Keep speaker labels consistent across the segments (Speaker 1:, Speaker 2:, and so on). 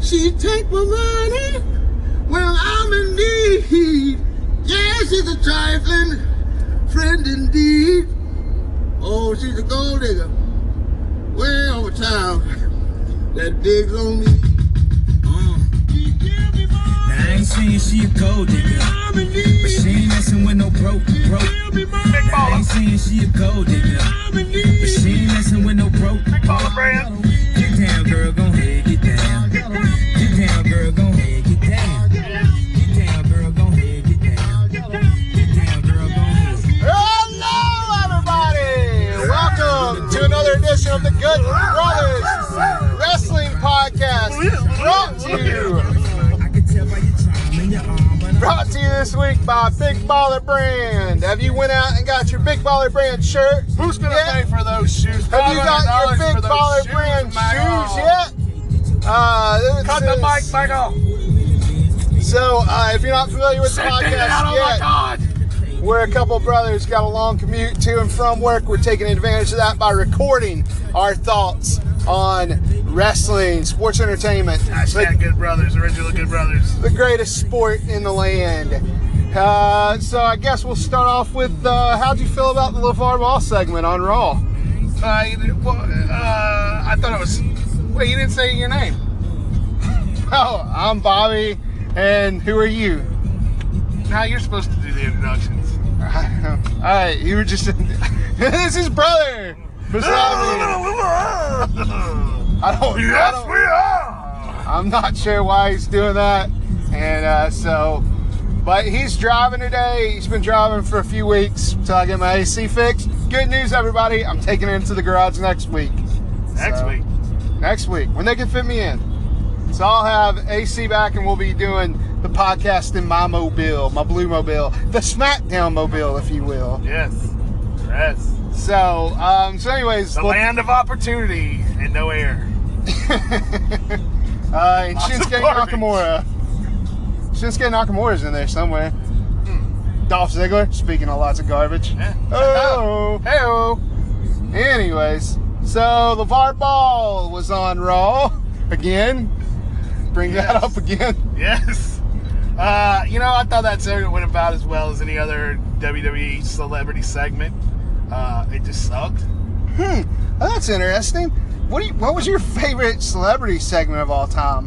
Speaker 1: she take my money when I'm in need. Yeah, she's a trifling friend indeed. Oh, she's a gold digger. Way over time that digs on me. Uh, she give me money.
Speaker 2: I ain't saying she a gold digger,
Speaker 1: I'm in
Speaker 2: but she
Speaker 1: need.
Speaker 2: ain't messing with no broke, broke.
Speaker 1: Give me money.
Speaker 2: I ain't saying she a gold digger,
Speaker 1: I'm in
Speaker 2: but
Speaker 1: need.
Speaker 2: she ain't messing with no broke. broke. Get down, girl, gon' head, get down. Get down, girl, gon' head, get down. Get down, girl, gon' head, get down. Get down, girl, gon' head.
Speaker 3: Hello, everybody! Welcome to another edition of the Good Brothers Wrestling Podcast. Brought to you,
Speaker 2: I can tell by your charm in your arm, but I'm
Speaker 3: brought to you this week by Big Baller Brand. Have you went out and got your Big Baller Brand shirt?
Speaker 4: Who's gonna
Speaker 3: Yeah.
Speaker 4: pay for those shoes?
Speaker 3: Have you got
Speaker 4: $500
Speaker 3: your
Speaker 4: for
Speaker 3: Big
Speaker 4: those
Speaker 3: Baller
Speaker 4: shoes,
Speaker 3: Brand
Speaker 4: Michael?
Speaker 3: shoes yet? Uh, this
Speaker 4: Cut the
Speaker 3: is-
Speaker 4: mic, Michael.
Speaker 3: So, uh, if you're not familiar with the
Speaker 4: Send it out
Speaker 3: podcast
Speaker 4: on Oh my
Speaker 3: yet,
Speaker 4: God.
Speaker 3: We're a couple brothers got a long commute to and from work. We're taking advantage of that by recording our thoughts on wrestling, sports entertainment,
Speaker 4: Hashtag
Speaker 3: the,
Speaker 4: Good Brothers, original Good Brothers.
Speaker 3: the greatest sport in the land. Uh, so I guess we'll start off with uh, how'd you feel about the LeVar Ball segment on Raw?
Speaker 4: Uh, you did- well, uh, I thought it was.
Speaker 3: Wait, you didn't say your name. Oh, I'm Bobby, and who are you?
Speaker 4: Now you're supposed to do the introductions.
Speaker 3: All right, you were just. this is brother. Beside me. I don't. I
Speaker 4: yes,
Speaker 3: don't-
Speaker 4: we are.
Speaker 3: I'm not sure why he's doing that. And uh, so, but he's driving today. He's been driving for a few weeks till I get my AC fixed. Good news, everybody. I'm taking it into the garage next week.
Speaker 4: Next
Speaker 3: So-
Speaker 4: week.
Speaker 3: Next week, when they can fit me in. So I'll have AC back and we'll be doing the podcast in my mobile, my blue mobile, the SmackDown mobile, if you will.
Speaker 4: Yes. Yes.
Speaker 3: So, um, so anyways,
Speaker 4: The
Speaker 3: look-
Speaker 4: land of opportunity and no air.
Speaker 3: Uh, and
Speaker 4: Lots of
Speaker 3: Shinsuke
Speaker 4: garbage.
Speaker 3: Nakamura. Shinsuke Nakamura's in there somewhere. Dolph Ziggler, speaking of lots of garbage.
Speaker 4: Yeah.
Speaker 3: Oh, hey Anyways, so LeVar Ball was on Raw again. Bring that
Speaker 4: Yes.
Speaker 3: up again.
Speaker 4: Yes. Uh, you know, I thought that segment went about as well as any other WWE celebrity segment. Uh, it just sucked.
Speaker 3: Hmm, that's interesting. What do you, What was your favorite celebrity segment of all time?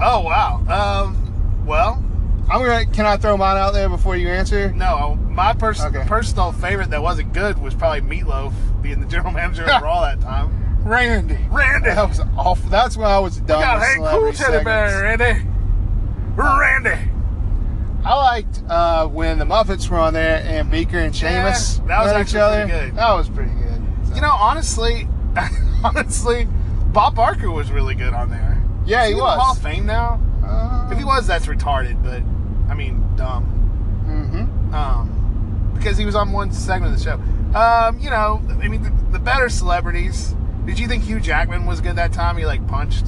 Speaker 4: Oh wow. Um, well,
Speaker 3: I'm gonna. Can I throw mine out there before you answer?
Speaker 4: no. My pers-
Speaker 3: Okay.
Speaker 4: personal favorite that wasn't good was probably Meatloaf being the general manager of Raw that time.
Speaker 3: Randy.
Speaker 4: Randy.
Speaker 3: That was awful. That's when I was done.
Speaker 4: God,
Speaker 3: with
Speaker 4: hey, cool
Speaker 3: celebrity
Speaker 4: teddy
Speaker 3: segments.
Speaker 4: bear, Randy. Randy.
Speaker 3: I liked uh, when the Muppets were on there and Beaker and
Speaker 4: Yeah,
Speaker 3: Sheamus
Speaker 4: that was
Speaker 3: met each
Speaker 4: actually
Speaker 3: other.
Speaker 4: pretty good.
Speaker 3: That was pretty good.
Speaker 4: You know, honestly, honestly, Bob Barker was really good on there.
Speaker 3: Yeah,
Speaker 4: Is
Speaker 3: he
Speaker 4: in the
Speaker 3: was.
Speaker 4: Hall of Fame now.
Speaker 3: Uh,
Speaker 4: If he was, that's retarded. But I mean, dumb.
Speaker 3: mhm.
Speaker 4: um, because he was on one segment of the show. Um, you know, I mean, the, the better celebrities. Did you think Hugh Jackman was good that time? He like punched.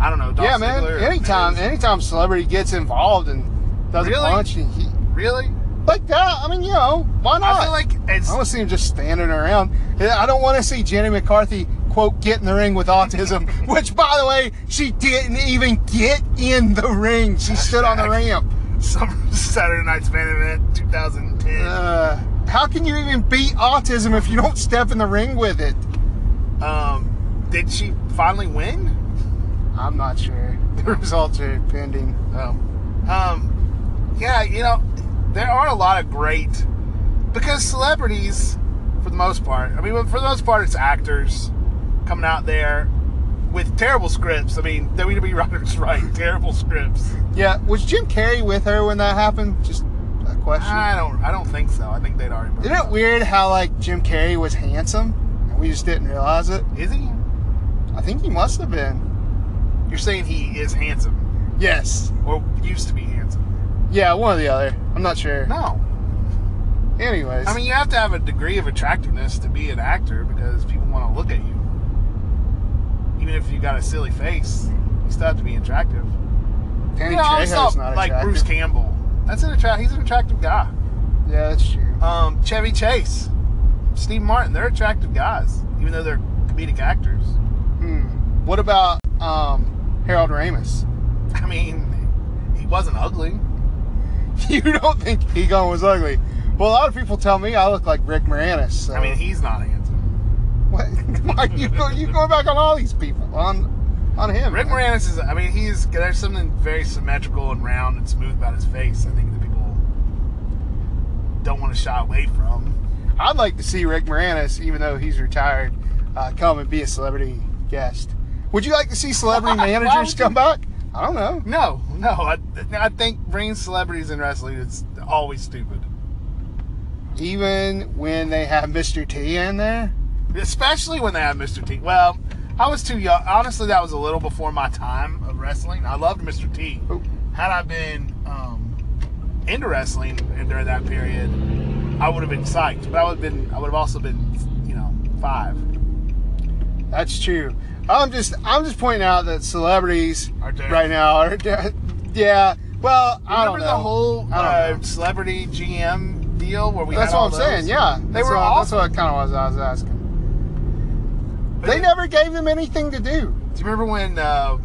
Speaker 4: I don't know. Dolph
Speaker 3: yeah, man.
Speaker 4: Ziggler or
Speaker 3: anytime,
Speaker 4: Miz.
Speaker 3: anytime celebrity gets involved and does
Speaker 4: Really?
Speaker 3: a punch, and he,
Speaker 4: Really?
Speaker 3: like that. I mean, you know, why not?
Speaker 4: I feel like it's.
Speaker 3: I want to see him just standing around. Yeah, I don't want to see Jenny McCarthy quote get in the ring with autism, which by the way, she didn't even get in the ring. She stood on the ramp.
Speaker 4: some Saturday Night's Main Event 2010.
Speaker 3: Uh, how can you even beat autism if you don't step in the ring with it? Uh.
Speaker 4: um, did she finally win?
Speaker 3: I'm not sure. The results are pending.
Speaker 4: Oh. Um, yeah, you know, there are a lot of great because celebrities, for the most part, I mean, for the most part, it's actors coming out there with terrible scripts. I mean, WWE writers write terrible scripts.
Speaker 3: Yeah, was Jim Carrey with her when that happened? Just a question.
Speaker 4: I don't, I don't think so. I think they'd already.
Speaker 3: Isn't it weird how like Jim Carrey was handsome and we just didn't realize it?
Speaker 4: Is he?
Speaker 3: I think he must have been.
Speaker 4: You're saying he is handsome,
Speaker 3: Yes.
Speaker 4: or used to be handsome?
Speaker 3: Yeah, one or the other. I'm not sure.
Speaker 4: No.
Speaker 3: Anyways,
Speaker 4: I mean, you have to have a degree of attractiveness to be an actor because people want to look at you. Even if you got a silly face, you still have to be attractive.
Speaker 3: Danny
Speaker 4: you know, I always
Speaker 3: Trejo's
Speaker 4: thought,
Speaker 3: not
Speaker 4: like
Speaker 3: attractive.
Speaker 4: Bruce Campbell. That's an attract. He's an attractive guy.
Speaker 3: Yeah, that's true.
Speaker 4: Um, Chevy Chase, Steve Martin. They're attractive guys, even though they're comedic actors.
Speaker 3: Hmm. What about um, Harold Ramis.
Speaker 4: I mean, he wasn't ugly.
Speaker 3: You don't think Egon was ugly? Well, a lot of people tell me I look like Rick Moranis. So.
Speaker 4: I mean, he's not handsome.
Speaker 3: what? Come on, you go, you go back on all these people on on him.
Speaker 4: Rick
Speaker 3: man.
Speaker 4: Moranis is. I mean, he's there's something very symmetrical and round and smooth about his face. I think that people don't want to shy away from.
Speaker 3: I'd like to see Rick Moranis, even though he's retired, uh, come and be a celebrity guest. Would you like to see celebrity
Speaker 4: Why- why
Speaker 3: managers
Speaker 4: would
Speaker 3: come back? I don't know.
Speaker 4: No, no. I, I think bringing celebrities in wrestling is always stupid,
Speaker 3: Even when they have Mr. T in there,
Speaker 4: especially when they have Mr. T. Well, I was too young. Honestly, that was a little before my time of wrestling. I loved Mr. T.
Speaker 3: Oh,
Speaker 4: had I been um, into wrestling during that period, I would have been psyched. But I would have been, I would have also been, you know, five.
Speaker 3: that's true. I'm just I'm just pointing out that celebrities
Speaker 4: Are dead.
Speaker 3: right now are dead. yeah. Well, I don't
Speaker 4: Remember
Speaker 3: know
Speaker 4: the whole
Speaker 3: I don't
Speaker 4: uh, celebrity GM deal where we?
Speaker 3: That's
Speaker 4: had
Speaker 3: what
Speaker 4: all
Speaker 3: I'm
Speaker 4: those?
Speaker 3: saying. Yeah,
Speaker 4: they
Speaker 3: That's
Speaker 4: were
Speaker 3: what,
Speaker 4: awesome.
Speaker 3: That's what kind of was I was asking.
Speaker 4: But
Speaker 3: They
Speaker 4: it-
Speaker 3: never gave him anything to do.
Speaker 4: Do you remember when uh,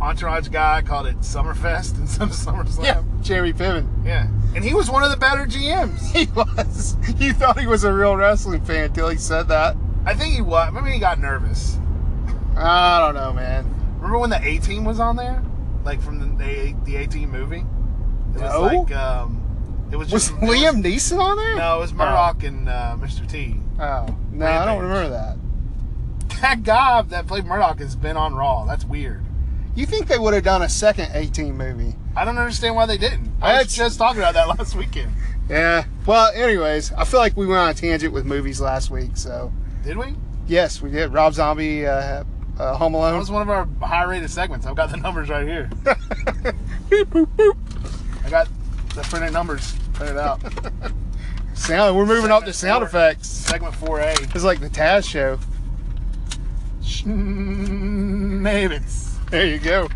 Speaker 4: Entourage guy called it Summerfest instead of SummerSlam?
Speaker 3: Jerry Piven.
Speaker 4: yeah. And he was one of the better GMs.
Speaker 3: He was. You thought he was a real wrestling fan until he said that.
Speaker 4: I think he was. Maybe he got nervous.
Speaker 3: I don't know, man.
Speaker 4: Remember when the A Team was on there, like from the A- the A Team movie? It
Speaker 3: No.
Speaker 4: was like um, it was
Speaker 3: Was
Speaker 4: just
Speaker 3: Liam Neeson on there?
Speaker 4: No, it was Murdoch and uh, Mr. T.
Speaker 3: Oh, Oh. no, I don't remember
Speaker 4: Rampage.
Speaker 3: that.
Speaker 4: That guy that played Murdoch has been on Raw. That's weird.
Speaker 3: You think they would have done a second 18 movie?
Speaker 4: I don't understand why they didn't. I
Speaker 3: That's-
Speaker 4: was just talking about that last weekend.
Speaker 3: Yeah. Well, anyways, I feel like we went on a tangent with movies last week. So
Speaker 4: Did we?
Speaker 3: yes, we did. Rob Zombie, uh, uh, Home Alone.
Speaker 4: That was one of our high rated segments. I've got the numbers right here. I got the printed numbers printed out.
Speaker 3: sound. We're moving up to sound
Speaker 4: Segment four.
Speaker 3: effects.
Speaker 4: Segment 4A.
Speaker 3: It's like the Taz show.
Speaker 4: Schnabbits.
Speaker 3: There you go.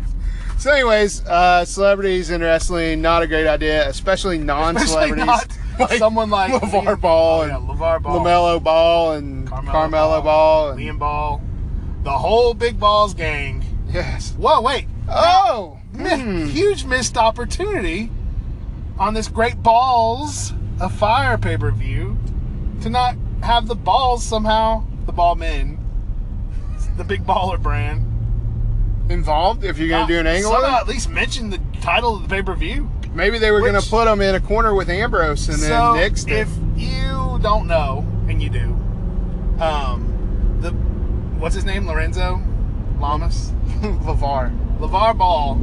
Speaker 3: So, anyways, uh, celebrities in wrestling, not a great idea, especially
Speaker 4: Especially
Speaker 3: non-celebrities.
Speaker 4: not someone like
Speaker 3: LeVar Ball
Speaker 4: Oh, yeah,
Speaker 3: and
Speaker 4: LeVar Ball.
Speaker 3: LaMelo Ball and Carmelo, Ball. and
Speaker 4: Liam Ball. The whole Big Balls gang.
Speaker 3: Yes.
Speaker 4: Whoa, wait.
Speaker 3: Oh!
Speaker 4: Mi-
Speaker 3: hmm.
Speaker 4: huge missed opportunity on this great balls of fire pay per view to not have the balls somehow the ball men the big baller brand
Speaker 3: Involved if you're going
Speaker 4: not-
Speaker 3: to do an angle? with
Speaker 4: somehow
Speaker 3: it?
Speaker 4: at least mention the title of the pay per view
Speaker 3: Maybe they were going to
Speaker 4: Which-
Speaker 3: put him in a corner with Ambrose and then
Speaker 4: so
Speaker 3: next.
Speaker 4: if you don't know and you do um the what's his name Lorenzo Lamas
Speaker 3: LeVar.
Speaker 4: LeVar Ball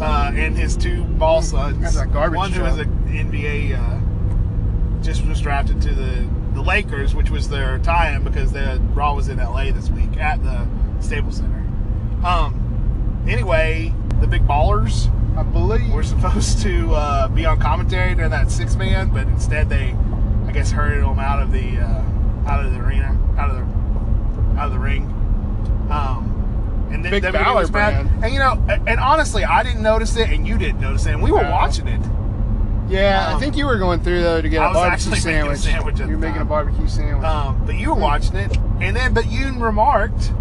Speaker 4: uh, and his two ball sons.
Speaker 3: That's a garbage
Speaker 4: One who
Speaker 3: truck.
Speaker 4: was an NBA, uh, just was drafted to the, the Lakers, which was their tie in because the Raw was in LA this week at the Staples Center. Um, anyway, the big ballers
Speaker 3: I believe.
Speaker 4: were supposed to uh, be on commentary during that six man, but instead they, I guess, hurried them out of the uh, out of the arena, out of the out of the ring. Um, and then
Speaker 3: Big
Speaker 4: WWE was
Speaker 3: Balor
Speaker 4: mad.
Speaker 3: brand.
Speaker 4: And you know, a- and honestly, I didn't notice it, and you didn't notice it, and we were
Speaker 3: No.
Speaker 4: watching it.
Speaker 3: yeah, I
Speaker 4: um,
Speaker 3: think you were going through, though, to get
Speaker 4: I
Speaker 3: a
Speaker 4: was
Speaker 3: barbecue
Speaker 4: actually making a
Speaker 3: sandwich.
Speaker 4: sandwich at
Speaker 3: You're
Speaker 4: the
Speaker 3: making a
Speaker 4: time.
Speaker 3: barbecue sandwich.
Speaker 4: Um, but you were watching it, and then but you remarked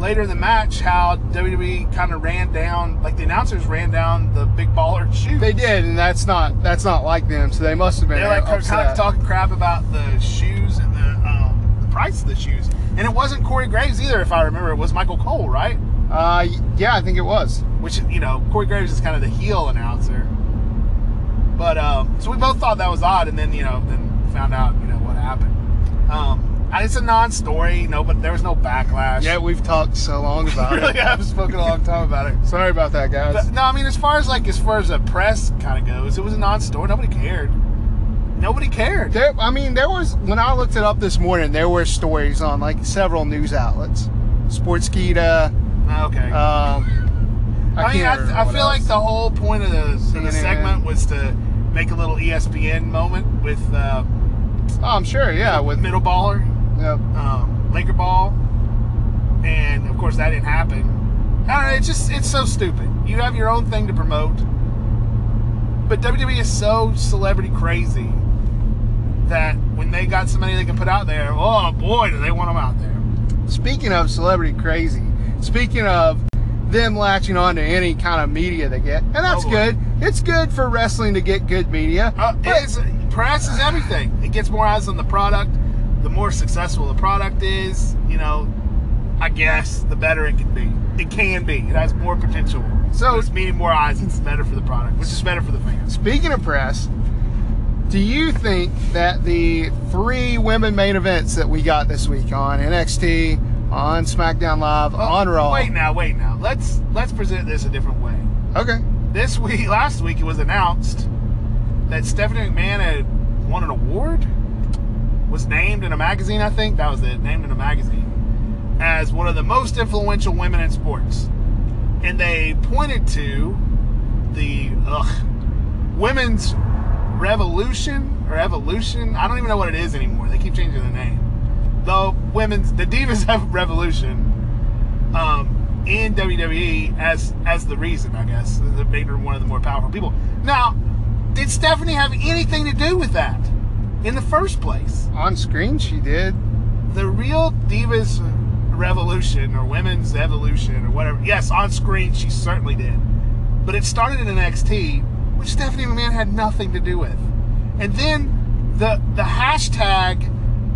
Speaker 4: later in the match how WWE kind of ran down, like the announcers ran down the big baller shoe.
Speaker 3: they did, and that's not that's not like them. So they must have been.
Speaker 4: They're like kind of
Speaker 3: upset.
Speaker 4: talking crap about the shoes and the, um, the price of the shoes. And it wasn't Corey Graves either, if I remember. It was Michael Cole, right?
Speaker 3: Uh, y- yeah, I think it was.
Speaker 4: Which, you know, Corey Graves is kind of the heel announcer. But, um, so we both thought that was odd. And then, you know, then found out, you know, what happened. Um, and it's a non story. No, but there was no backlash.
Speaker 3: Yeah, we've talked so long about
Speaker 4: really,
Speaker 3: it.
Speaker 4: I've spoken a long time about it.
Speaker 3: Sorry about that, guys.
Speaker 4: But, no, I mean, as far as like, as far as the press kind of goes, it was a non story. Nobody cared. Nobody cared.
Speaker 3: there, I mean, there was when I looked it up this morning. There were stories on like several news outlets, Sportskeeda.
Speaker 4: Okay.
Speaker 3: Um, I,
Speaker 4: I mean,
Speaker 3: can't remember
Speaker 4: I, I
Speaker 3: what
Speaker 4: feel like
Speaker 3: else.
Speaker 4: the whole point of the, of the
Speaker 3: CNN.
Speaker 4: segment was to make a little E ESPN moment with uh,
Speaker 3: Oh, I'm sure. Yeah, with uh,
Speaker 4: middle baller,
Speaker 3: yeah,
Speaker 4: um, Laker ball, and of course that didn't happen. I don't know. It's just it's so stupid. You have your own thing to promote, but WWE is so celebrity crazy that when they got somebody they can put out there, oh boy, do they want them out there.
Speaker 3: Speaking of celebrity crazy, speaking of them latching on to any kind of media they get, and that's
Speaker 4: Totally.
Speaker 3: good. It's good for wrestling to get good media.
Speaker 4: Oh, Uh,
Speaker 3: but-
Speaker 4: it's, press is everything. It gets more eyes on the product. The more successful the product is, you know, I guess the better it can be. It can be. It has more potential.
Speaker 3: So-
Speaker 4: So it's meaning more eyes. It's better for the product, which is better for the fans.
Speaker 3: Speaking of press, do you think that the three women main events that we got this week on NXT, on SmackDown Live, on Raw?
Speaker 4: Oh, Wait now, wait now. Let's let's present this a different way.
Speaker 3: Okay.
Speaker 4: This week, last week, it was announced that Stephanie McMahon had won an award. Was named in a magazine, I think that was it. Named in a magazine as one of the most influential women in sports, and they pointed to the ugh, women's revolution or evolution. I don't even know what it is anymore. They keep changing the name. The women's, the Divas have revolution um, in WWE as as the reason, I guess, that made her one of the more powerful people. Now, did Stephanie have anything to do with that in the first place?
Speaker 3: On screen, she did.
Speaker 4: The real divas revolution or women's evolution or whatever. Yes, on screen she certainly did, but it started in NXT, which Stephanie McMahon had nothing to do with. And then the the hashtag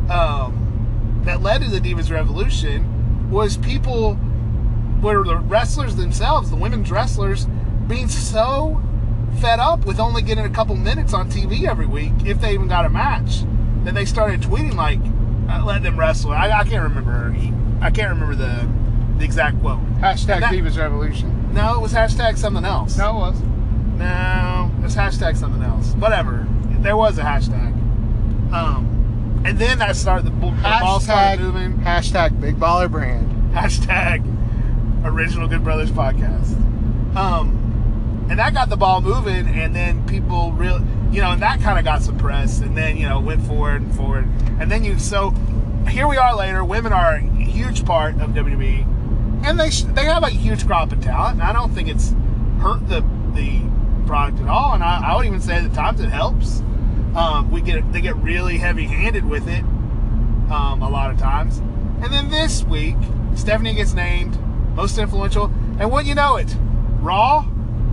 Speaker 4: um, that led to the divas revolution was people were the wrestlers themselves, the women's wrestlers, being so fed up with only getting a couple minutes on TV every week, if they even got a match, that they started tweeting like, uh, "Let them wrestle." I, I can't remember. I can't remember the the exact quote.
Speaker 3: Hashtag
Speaker 4: That-
Speaker 3: Divas Revolution.
Speaker 4: No, it was hashtag something else.
Speaker 3: No, it was.
Speaker 4: No, it's hashtag something else. Whatever. There was a hashtag. Um, and then that started the, bu- the ball
Speaker 3: Hashtag,
Speaker 4: started moving.
Speaker 3: hashtag Big Baller Brand.
Speaker 4: Hashtag original Good Brothers podcast. Um, and that got the ball moving, and then people real, you know, and that kind of got suppressed, and then you know went forward and forward, and then you so here we are later. Women are a huge part of WWE, and they sh- they have a huge crop of talent. And I don't think it's hurt the the product at all, and I, I would even say at the times it helps. Um, we get they get really heavy handed with it, um, a lot of times. And then this week, Stephanie gets named most influential, and wouldn't you know it, Raw,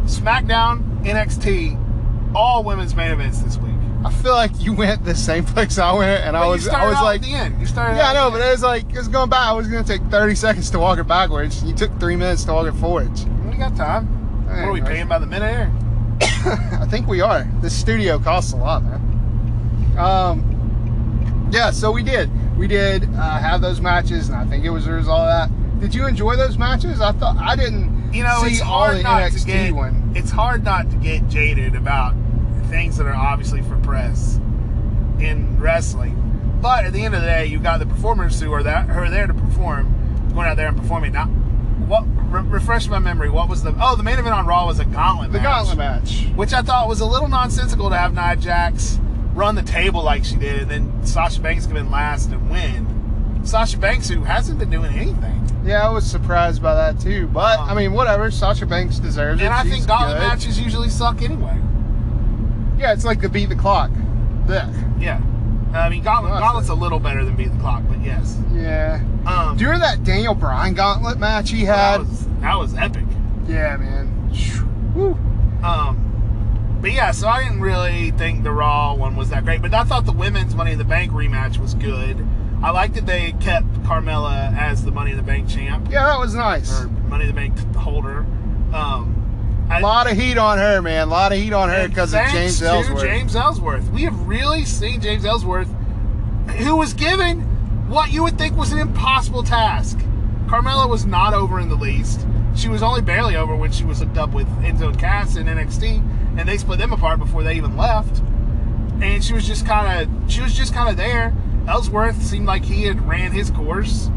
Speaker 4: SmackDown, NXT, all women's main events this week.
Speaker 3: I feel like you went the same place I went, and
Speaker 4: But
Speaker 3: I
Speaker 4: you
Speaker 3: was, I
Speaker 4: started
Speaker 3: was
Speaker 4: out
Speaker 3: like,
Speaker 4: at the end. You started.
Speaker 3: yeah, I
Speaker 4: out-
Speaker 3: know, but it was like it was going by. I was gonna take 30 seconds to walk it backwards. You took three minutes to walk it forwards.
Speaker 4: We got time. What are we
Speaker 3: Anyways.
Speaker 4: paying by the minute here?
Speaker 3: I think we are. This studio costs a lot, man. Um, yeah, so we did. We did uh, have those matches, and I think it was a result of that. Did you enjoy those matches? I thought I didn't.
Speaker 4: You know,
Speaker 3: see
Speaker 4: it's
Speaker 3: all
Speaker 4: hard
Speaker 3: the
Speaker 4: not
Speaker 3: NXT
Speaker 4: to get.
Speaker 3: one.
Speaker 4: It's hard not to get jaded about things that are obviously for press in wrestling. But at the end of the day, you've got the performers who are that who are there to perform, going out there and performing. Now, what re- refresh my memory? What was the oh the main event on Raw was a gauntlet
Speaker 3: The
Speaker 4: match,
Speaker 3: gauntlet match.
Speaker 4: which I thought was a little nonsensical to have Nia Jax run the table like she did, and then Sasha Banks come in last and win. Sasha Banks who hasn't been doing anything.
Speaker 3: Yeah, I was surprised by that too. But I mean, whatever. Sasha Banks deserves it.
Speaker 4: Uh-huh. And I
Speaker 3: She's
Speaker 4: think gauntlet
Speaker 3: good.
Speaker 4: matches usually suck anyway.
Speaker 3: Yeah, it's like the beat the clock. The,
Speaker 4: Yeah. I mean, gauntlet,
Speaker 3: Well, that's
Speaker 4: gauntlet's a little better than beat the clock, but yes.
Speaker 3: yeah.
Speaker 4: Um,
Speaker 3: During that Daniel Bryan gauntlet match he had.
Speaker 4: that, was, that was epic.
Speaker 3: yeah, man. Whew.
Speaker 4: Um, but yeah, so I didn't really think the Raw one was that great, but I thought the women's Money in the Bank rematch was good. I liked that they kept Carmella as the Money in the Bank champ
Speaker 3: Yeah, that was nice.
Speaker 4: or Money in the Bank holder. Um,
Speaker 3: A lot of heat on her, man. A lot of heat on her
Speaker 4: And
Speaker 3: because of
Speaker 4: thanks
Speaker 3: James
Speaker 4: to
Speaker 3: Ellsworth.
Speaker 4: James Ellsworth. We have really seen James Ellsworth, who was given what you would think was an impossible task. Carmella was not over in the least. She was only barely over when she was hooked up with Enzo and Cass in NXT, and they split them apart before they even left. And she was just kind of, she was just kind of there. Ellsworth seemed like he had ran his course,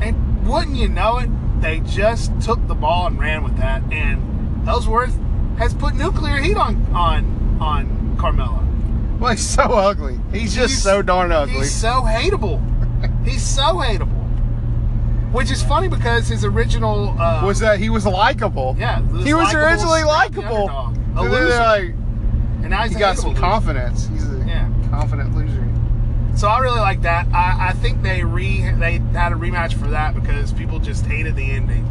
Speaker 4: and wouldn't you know it, they just took the ball and ran with that. And Ellsworth has put nuclear heat on on on Carmella.
Speaker 3: Well, he's so ugly. He's just
Speaker 4: He's-
Speaker 3: so darn ugly.
Speaker 4: He's so hateable. he's so hateable. Which is funny because his original uh,
Speaker 3: was that he was likable?
Speaker 4: yeah this
Speaker 3: He was
Speaker 4: likable
Speaker 3: originally
Speaker 4: scrappy
Speaker 3: likable.
Speaker 4: underdog. A
Speaker 3: And then
Speaker 4: loser.
Speaker 3: they're like,
Speaker 4: and now he's
Speaker 3: he
Speaker 4: a
Speaker 3: got
Speaker 4: hateable
Speaker 3: some
Speaker 4: loser.
Speaker 3: confidence. He's a
Speaker 4: Yeah.
Speaker 3: confident loser.
Speaker 4: So I really like that. I, I think they re they had a rematch for that because people just hated the ending.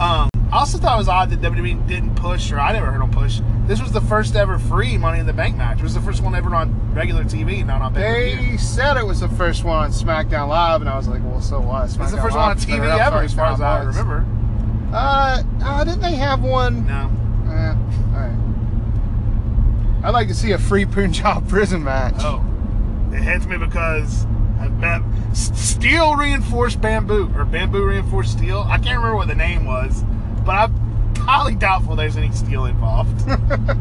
Speaker 4: Um, I'll also thought it was odd that WWE didn't push, or I never heard them push. This was the first ever free Money in the Bank match. It was the first one ever on regular TV, not on pay-per-view.
Speaker 3: They said it was the first one on SmackDown Live, and I was like, well, so what?
Speaker 4: It was the
Speaker 3: SmackDown
Speaker 4: first one on
Speaker 3: Live's been
Speaker 4: TV
Speaker 3: around
Speaker 4: ever,
Speaker 3: for
Speaker 4: as far as I
Speaker 3: 25 months.
Speaker 4: remember.
Speaker 3: Uh, uh, didn't they have one?
Speaker 4: No.
Speaker 3: Eh, all right. I'd like to see a free Punjab prison match.
Speaker 4: Oh. It hits me because I bet steel reinforced bamboo or bamboo reinforced steel. I can't remember what the name was, but I'm highly doubtful there's any steel involved.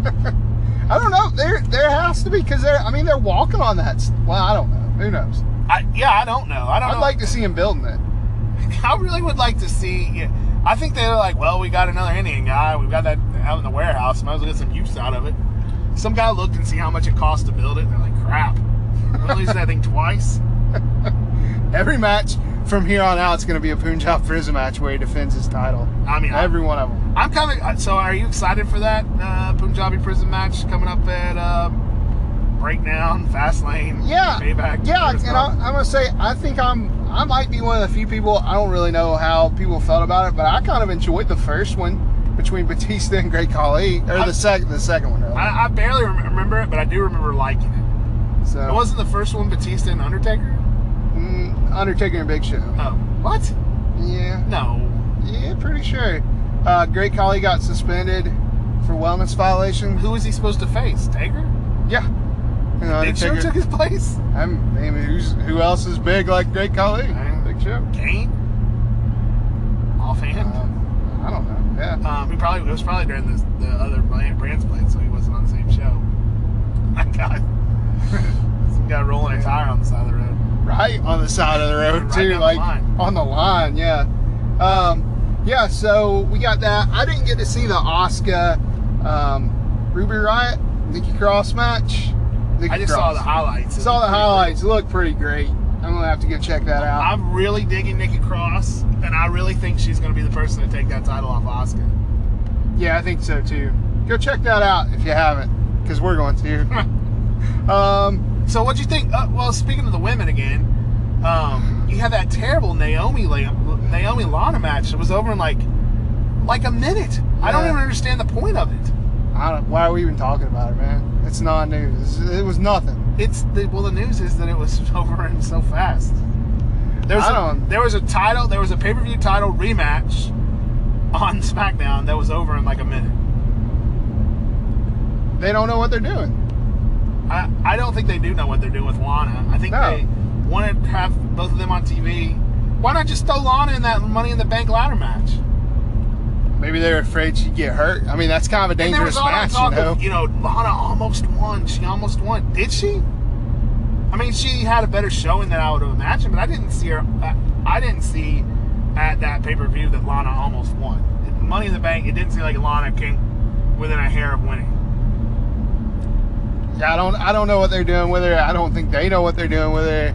Speaker 3: I don't know. There, there has to be because they're. I mean, they're walking on that. s- Well, I don't know. Who knows?
Speaker 4: I, yeah, I don't know. I don't.
Speaker 3: I'd
Speaker 4: know.
Speaker 3: like to see him building it.
Speaker 4: I really would like to see. Yeah, I think they're like, well, we got another Indian guy. We've got that out in the warehouse. Might as well get some use out of it. Some guy looked and see how much it cost to build it. And they're like, crap. We're gonna lose that thing twice.
Speaker 3: Every match from here on out is going to be a Punjab prison match where he defends his title.
Speaker 4: I mean, I-
Speaker 3: every one of them.
Speaker 4: I'm kind of. So, are you excited for that uh, Punjabi prison match coming up at uh, Breakdown, Fastlane,
Speaker 3: Yeah,
Speaker 4: Payback?
Speaker 3: yeah.
Speaker 4: Chris
Speaker 3: And I,
Speaker 4: Benoit?
Speaker 3: I'm gonna say I think I'm. I might be one of the few people. I don't really know how people felt about it, but I kind of enjoyed the first one between Batista and Great Khali, or
Speaker 4: I-
Speaker 3: the second, the second one. Really.
Speaker 4: I, I barely rem- remember it, but I do remember liking it.
Speaker 3: so
Speaker 4: It wasn't the first one, Batista and Undertaker.
Speaker 3: mm, Undertaker and Big Show.
Speaker 4: Oh, what?
Speaker 3: Yeah.
Speaker 4: No.
Speaker 3: Yeah, pretty sure. Uh, Great Collie got suspended for wellness violation.
Speaker 4: Who was he supposed to face? Taker?
Speaker 3: Yeah. You know,
Speaker 4: Big Show
Speaker 3: Undertaker-
Speaker 4: took his place.
Speaker 3: I'm, I mean, who's, who else is big like Great Collie?
Speaker 4: Right.
Speaker 3: Big Show.
Speaker 4: Kane? Offhand?
Speaker 3: Um, I don't know. Yeah.
Speaker 4: Um, he probably it was probably during the, the other brand, brand's played, so he wasn't on the same show. My God, some guy rolling a tire on the side of the road.
Speaker 3: Right on the side of the road,
Speaker 4: Right
Speaker 3: too.
Speaker 4: down the
Speaker 3: like,
Speaker 4: line.
Speaker 3: on the line, yeah. Um, yeah, so we got that. I didn't get to see the Oscar um, Ruby Riot, Nikki Cross match. Nikki
Speaker 4: I just saw
Speaker 3: Cross.
Speaker 4: the highlights.
Speaker 3: Saw the highlights. Look pretty great. I'm gonna have to go check that out.
Speaker 4: I'm really digging Nikki Cross, and I really think she's going to be the person to take that title off Oscar.
Speaker 3: Yeah, I think so too. Go check that out if you haven't, because we're going to. um,
Speaker 4: So what do you think? Uh, well, speaking of the women again, um, you had that terrible Naomi La- Naomi Lana match that was over in like like a minute. I don't
Speaker 3: Yeah.
Speaker 4: even understand the point of it.
Speaker 3: I don't. Why are we even talking about it, man? It's non-news. It was nothing.
Speaker 4: It's the, well, the news is that it was over and so fast. There was,
Speaker 3: I
Speaker 4: a,
Speaker 3: don't-
Speaker 4: there was a title, there was a pay per view title rematch on SmackDown that was over in like a minute.
Speaker 3: They don't know what they're doing.
Speaker 4: I, I don't think they do know what they're doing with Lana. I think
Speaker 3: No.
Speaker 4: they want to have both of them on TV. Why not just throw Lana in that Money in the Bank ladder match?
Speaker 3: Maybe they're afraid she'd get hurt. I mean, that's kind of a
Speaker 4: And there
Speaker 3: dangerous
Speaker 4: was all that
Speaker 3: match, you
Speaker 4: talk
Speaker 3: know.
Speaker 4: of, you know, Lana almost won. She almost won. Did she? I mean, she had a better showing than I would have imagined, but I didn't see her. I, I didn't see at that pay per view that Lana almost won. Money in the Bank, it didn't seem like Lana came within a hair of winning.
Speaker 3: Yeah, I don't. I don't know what they're doing with her. I don't think they know what they're doing with her.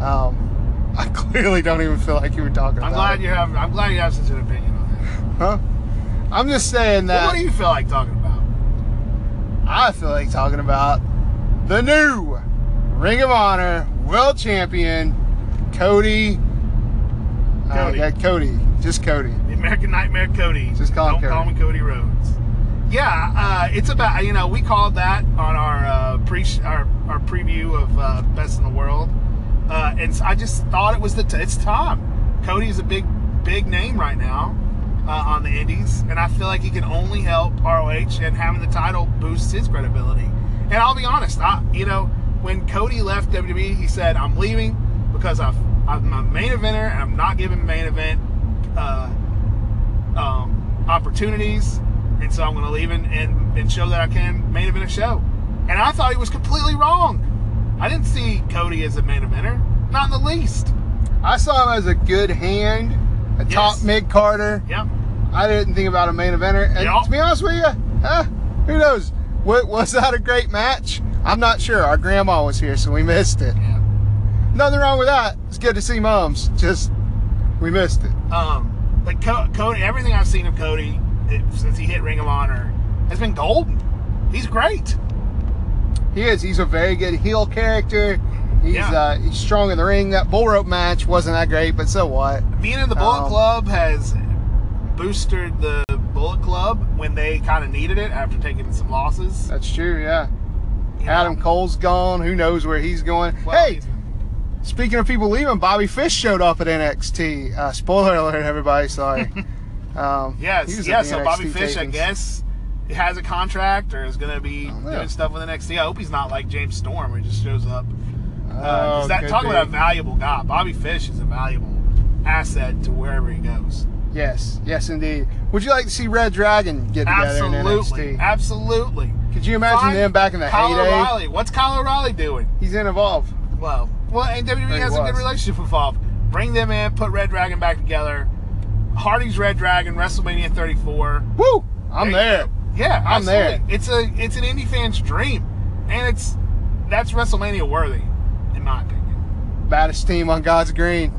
Speaker 3: Um, I clearly don't even feel like you were talking
Speaker 4: I'm
Speaker 3: about.
Speaker 4: glad
Speaker 3: it.
Speaker 4: you have. I'm glad you have such an opinion on that.
Speaker 3: Huh? I'm just saying
Speaker 4: Well,
Speaker 3: that.
Speaker 4: what do you feel like talking about?
Speaker 3: I feel like talking about the new Ring of Honor World Champion, Cody. Uh,
Speaker 4: Cody.
Speaker 3: yeah, Cody. Just Cody.
Speaker 4: The American Nightmare Cody.
Speaker 3: Just call him
Speaker 4: Don't call
Speaker 3: Cody.
Speaker 4: me Cody Rhodes. Yeah, uh, it's about you know we called that on our uh, pre our, our preview of uh, Best in the World, uh, and so I just thought it was the t- it's Tom. Cody's a big big name right now uh, on the Indies, and I feel like he can only help ROH, and having the title boosts his credibility. And I'll be honest, I you know when Cody left WWE, he said I'm leaving because I've, I'm a main eventer and I'm not giving main event. Uh, um, opportunities, and so I'm going to leave and, and, and show that I can main event a show. And I thought he was completely wrong. I didn't see Cody as a main eventer, not in the least.
Speaker 3: I saw him as a good hand, a
Speaker 4: Yes.
Speaker 3: top mid Carter.
Speaker 4: Yep.
Speaker 3: I didn't think about a main eventer. And
Speaker 4: Yup.
Speaker 3: to be honest with you, huh? Who knows? Wa- Was that a great match? I'm not sure. Our grandma was here, so we missed it.
Speaker 4: Yeah.
Speaker 3: Nothing wrong with that. It's good to see moms. Just, we missed it.
Speaker 4: Um, like Co- Cody, everything I've seen of Cody it, since he hit Ring of Honor has been golden. He's great.
Speaker 3: He is. He's a very good heel character. He's
Speaker 4: Yeah.
Speaker 3: uh, he's strong in the ring. That bull rope match wasn't that great, but so what?
Speaker 4: Being in the Bullet
Speaker 3: Um,
Speaker 4: Club has boosted the Bullet Club when they kind of needed it after taking some losses.
Speaker 3: That's true, yeah.
Speaker 4: You know?
Speaker 3: Adam Cole's gone. Who knows where he's going?
Speaker 4: Well,
Speaker 3: hey, speaking of people leaving, Bobby Fish showed up at NXT. Uh, spoiler alert, everybody. Sorry. um, he
Speaker 4: yes,
Speaker 3: was
Speaker 4: yeah.
Speaker 3: at the
Speaker 4: So
Speaker 3: NXT
Speaker 4: Bobby Fish, I
Speaker 3: tapings.
Speaker 4: guess, has a contract or is going to be
Speaker 3: Oh, yeah.
Speaker 4: doing stuff with the next. I hope he's not like James Storm, where he just shows up. Uh, 'cause
Speaker 3: Oh,
Speaker 4: that
Speaker 3: could
Speaker 4: talk about a
Speaker 3: be.
Speaker 4: valuable guy. Bobby Fish is a valuable asset to wherever he goes.
Speaker 3: Yes, yes, indeed. Would you like to see Red Dragon get together
Speaker 4: Absolutely,
Speaker 3: in NXT?
Speaker 4: absolutely.
Speaker 3: Could you imagine
Speaker 4: Find
Speaker 3: them back in the
Speaker 4: Kyle
Speaker 3: heyday?
Speaker 4: O'Reilly. What's Kyle O'Reilly doing?
Speaker 3: He's in Evolve.
Speaker 4: Well, well, and WWE
Speaker 3: He
Speaker 4: has a good
Speaker 3: was.
Speaker 4: relationship with Evolve. Bring them in, put Red Dragon back together. Hardy's Red Dragon, WrestleMania 34.
Speaker 3: Woo! I'm
Speaker 4: There you
Speaker 3: there.
Speaker 4: go. Yeah,
Speaker 3: I'm there.
Speaker 4: absolutely. It's a it's an indie fan's dream, and it's that's WrestleMania worthy, in my opinion.
Speaker 3: Baddest team on God's green.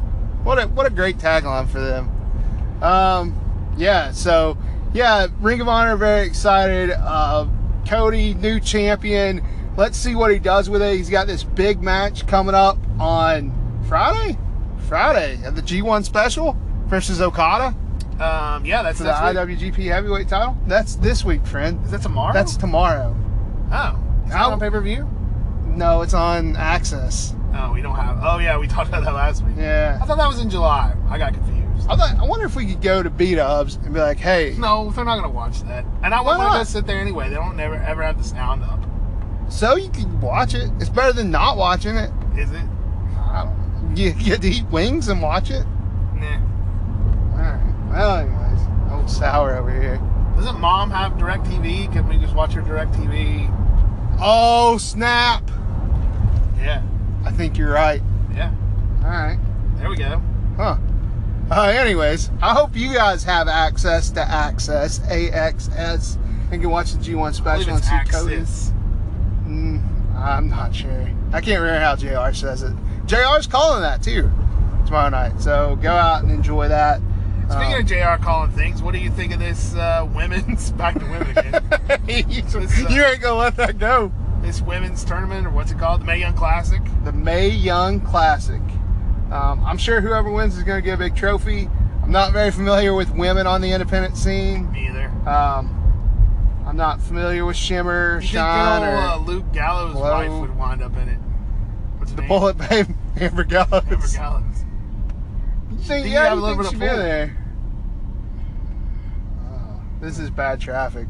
Speaker 3: What a what a great tagline for them. Um, yeah. So yeah, Ring of Honor very excited. Uh, Cody new champion. Let's see what he does with it. He's got this big match coming up on Friday. Friday at the G1 special versus Okada
Speaker 4: Um, yeah, that's
Speaker 3: for the
Speaker 4: next week.
Speaker 3: IWGP Heavyweight title. That's this week, friend.
Speaker 4: Is that tomorrow?
Speaker 3: That's tomorrow.
Speaker 4: oh, is that
Speaker 3: I'll-
Speaker 4: on pay per view?
Speaker 3: No, it's on Access.
Speaker 4: Oh, we don't have. Oh yeah, we talked about that last week.
Speaker 3: Yeah.
Speaker 4: I thought that was in July. I got confused.
Speaker 3: I thought. I wonder if we could go to B Dubs and be like, "Hey,
Speaker 4: No, they're not gonna watch that, and I wouldn't
Speaker 3: Why
Speaker 4: want to
Speaker 3: not?
Speaker 4: sit there anyway. They don't never ever have the sound up.
Speaker 3: so you can watch it. It's better than not watching it.
Speaker 4: Is it?
Speaker 3: I don't. You get to eat wings and watch it.
Speaker 4: Nah.
Speaker 3: All right. Well, anyways, old sour over here.
Speaker 4: Doesn't mom have DirecTV? Can we just watch her DirecTV?
Speaker 3: Oh snap!
Speaker 4: Yeah,
Speaker 3: I think you're right.
Speaker 4: yeah.
Speaker 3: All right.
Speaker 4: There we go.
Speaker 3: Huh. Uh, anyways, I hope you guys have access to Access AXS and can watch the G1
Speaker 4: I believe
Speaker 3: special and
Speaker 4: it's
Speaker 3: see Cody.
Speaker 4: Axis.
Speaker 3: Mm, I'm not sure. I can't remember how JR says it. JR's calling that too tomorrow night. So go out and enjoy that.
Speaker 4: Speaking
Speaker 3: Um,
Speaker 4: of JR calling things, what do you think of this uh, women's back to women uh, again?
Speaker 3: you, you ain't gonna let that go.
Speaker 4: this women's tournament or what's it called? The Mae Young Classic.
Speaker 3: The May Young Classic. Um, I'm sure whoever wins is gonna get a big trophy. I'm not very familiar with women on the independent scene.
Speaker 4: Me either.
Speaker 3: Um, I'm not familiar with Shimmer,
Speaker 4: You think good
Speaker 3: Shine,
Speaker 4: old, uh,
Speaker 3: or
Speaker 4: Luke Gallows'
Speaker 3: Glow.
Speaker 4: wife would wind up in it? What's her
Speaker 3: the
Speaker 4: name?
Speaker 3: Bullet Babe Amber Gallows.
Speaker 4: Amber Gallows.
Speaker 3: You think,
Speaker 4: Do you
Speaker 3: yeah,
Speaker 4: have a
Speaker 3: you
Speaker 4: little
Speaker 3: think
Speaker 4: bit
Speaker 3: she'd be
Speaker 4: of pull?
Speaker 3: there? Oh,
Speaker 4: Uh,
Speaker 3: this is bad traffic.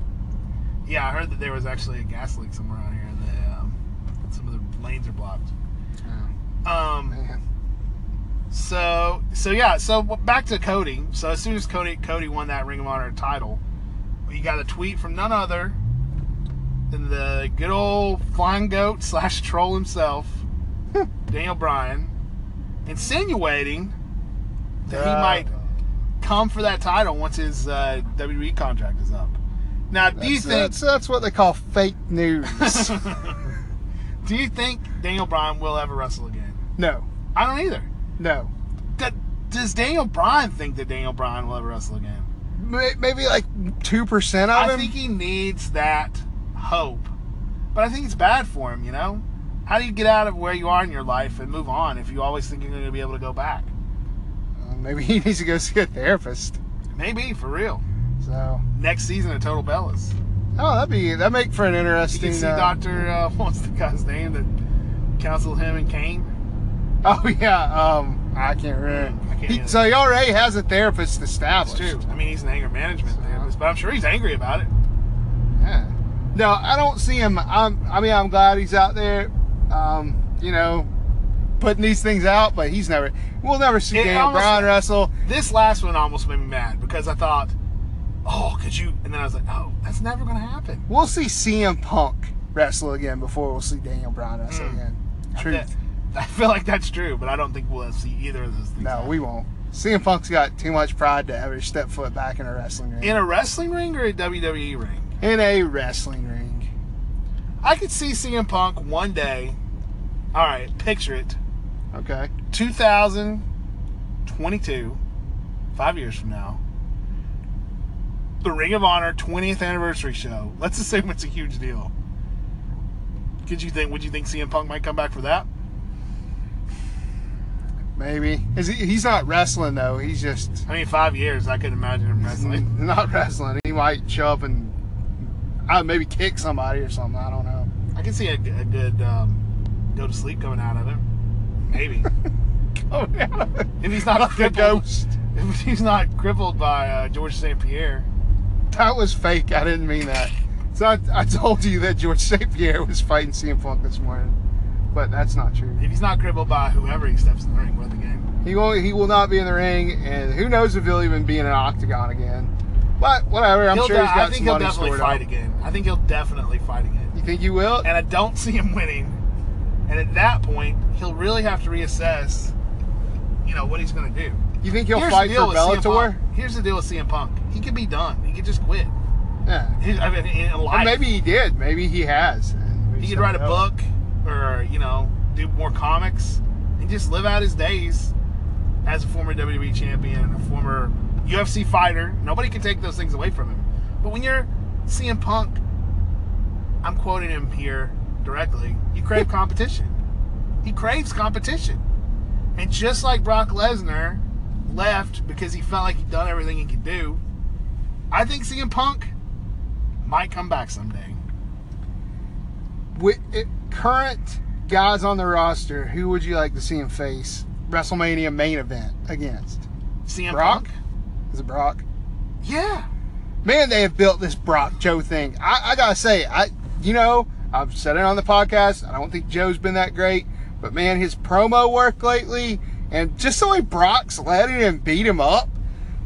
Speaker 4: Yeah, I heard that there was actually a gas leak somewhere out here, and the, um, some of the lanes are blocked. Um,
Speaker 3: Oh, Man.
Speaker 4: So so yeah, so back to Cody. So as soon as Cody Cody won that Ring of Honor title, you got a tweet from none other than the good old flying goat slash troll himself, Daniel Bryan, insinuating that he
Speaker 3: Uh,
Speaker 4: might come for that title once his uh, WWE contract is up. Now, do you
Speaker 3: That's,
Speaker 4: think
Speaker 3: that's, that's what they call fake news.
Speaker 4: do you think Daniel Bryan will ever wrestle again?
Speaker 3: no,
Speaker 4: I don't either.
Speaker 3: no.
Speaker 4: That, does Daniel Bryan think that Daniel Bryan will ever wrestle again?
Speaker 3: May- Maybe like two percent of
Speaker 4: I
Speaker 3: him.
Speaker 4: think he needs that hope. But I think it's bad for him, you know? How do you get out of where you are in your life and move on if you always think you're going to be able to go back?
Speaker 3: Uh, Maybe he needs to go see a therapist.
Speaker 4: Maybe, for real.
Speaker 3: So,
Speaker 4: Next season at Total Bellas.
Speaker 3: oh, that'd be that make for an
Speaker 4: You
Speaker 3: interesting.
Speaker 4: can see
Speaker 3: uh,
Speaker 4: Dr. Uh, what's the guy's name that counseled him and Kane?
Speaker 3: Oh yeah, um, I can't remember.
Speaker 4: I can't
Speaker 3: He-
Speaker 4: either.
Speaker 3: so he already has a therapist
Speaker 4: That's
Speaker 3: established.
Speaker 4: true. I mean, he's an anger management
Speaker 3: Uh-huh.
Speaker 4: therapist, but I'm sure he's angry about it.
Speaker 3: Yeah. No, I don't see him. I'm, I mean, I'm glad he's out there, um, you know, putting these things out, but he's never, we'll never see
Speaker 4: It
Speaker 3: Daniel
Speaker 4: almost-
Speaker 3: Bryan wrestle.
Speaker 4: This last one almost made me mad because I thought, oh, could you? And then I was like, oh, that's never going to happen.
Speaker 3: We'll see CM Punk wrestle again before we'll see Daniel Bryan wrestle
Speaker 4: Mm.
Speaker 3: again.
Speaker 4: That-
Speaker 3: Truth.
Speaker 4: I feel like that's true, but I don't think we'll see either of those things.
Speaker 3: No,
Speaker 4: happen.
Speaker 3: we won't. CM Punk's got too much pride to ever step foot back in a wrestling ring.
Speaker 4: in a wrestling ring or a WWE ring.
Speaker 3: in a wrestling ring.
Speaker 4: I could see CM Punk one day. All right, picture it:
Speaker 3: Okay.
Speaker 4: 2022, five years from now. The Ring of Honor 20th anniversary show. Let's assume it's a huge deal. Could you think? Would you think CM Punk might come back for that?
Speaker 3: Maybe. Is he, he's not wrestling though. He's just
Speaker 4: I mean, five years. I could imagine him wrestling.
Speaker 3: not wrestling. He might show up and uh, maybe kick somebody or something. I don't know.
Speaker 4: I can see a, g- a good um, go to sleep coming out of him. Maybe
Speaker 3: Oh yeah.
Speaker 4: if he's not
Speaker 3: the
Speaker 4: crippled,
Speaker 3: ghost.
Speaker 4: if he's not crippled by uh, George St. Pierre.
Speaker 3: That was fake. I didn't mean that. So I, I told you that George St. Pierre was fighting CM Punk this morning, but that's not true.
Speaker 4: If he's not crippled by whoever he steps in the ring with again.
Speaker 3: He will he will not be in the ring, and who knows if he'll even be in an octagon again. But whatever, I'm
Speaker 4: He'll
Speaker 3: sure
Speaker 4: de-
Speaker 3: he's got
Speaker 4: I think
Speaker 3: some
Speaker 4: he'll
Speaker 3: money
Speaker 4: definitely
Speaker 3: stored
Speaker 4: fight
Speaker 3: up.
Speaker 4: again. I think he'll definitely fight again.
Speaker 3: You think he will?
Speaker 4: and I don't see him winning. And at that point, he'll really have to reassess, you know, what he's going to do.
Speaker 3: You think he'll
Speaker 4: Here's
Speaker 3: fight
Speaker 4: the
Speaker 3: for
Speaker 4: deal with CM
Speaker 3: Bellator?
Speaker 4: Punk. Here's the deal with CM Punk. He could be done. He could just quit.
Speaker 3: Yeah.
Speaker 4: He, I mean, in
Speaker 3: Or
Speaker 4: life,
Speaker 3: maybe he did. Maybe he has. and we
Speaker 4: he
Speaker 3: just
Speaker 4: could
Speaker 3: don't
Speaker 4: write a
Speaker 3: know.
Speaker 4: book or you know do more comics and just live out his days as a former WWE champion and a former UFC fighter. Nobody can take those things away from him. But when you're CM Punk, I'm quoting him here directly. You crave competition. He craves competition. And just like Brock Lesnar left because he felt like he'd done everything he could do, I think CM Punk might come back someday.
Speaker 3: With it, current guys on the roster, who would you like to see him face WrestleMania main event against?
Speaker 4: CM
Speaker 3: Brock?
Speaker 4: Punk?
Speaker 3: Is it Brock?
Speaker 4: Yeah.
Speaker 3: man, they have built this Brock Joe thing. I, I gotta say, I you know, I've said it on the podcast. I don't think Joe's been that great, but man, his promo work lately and just the way Brock's letting him beat him up.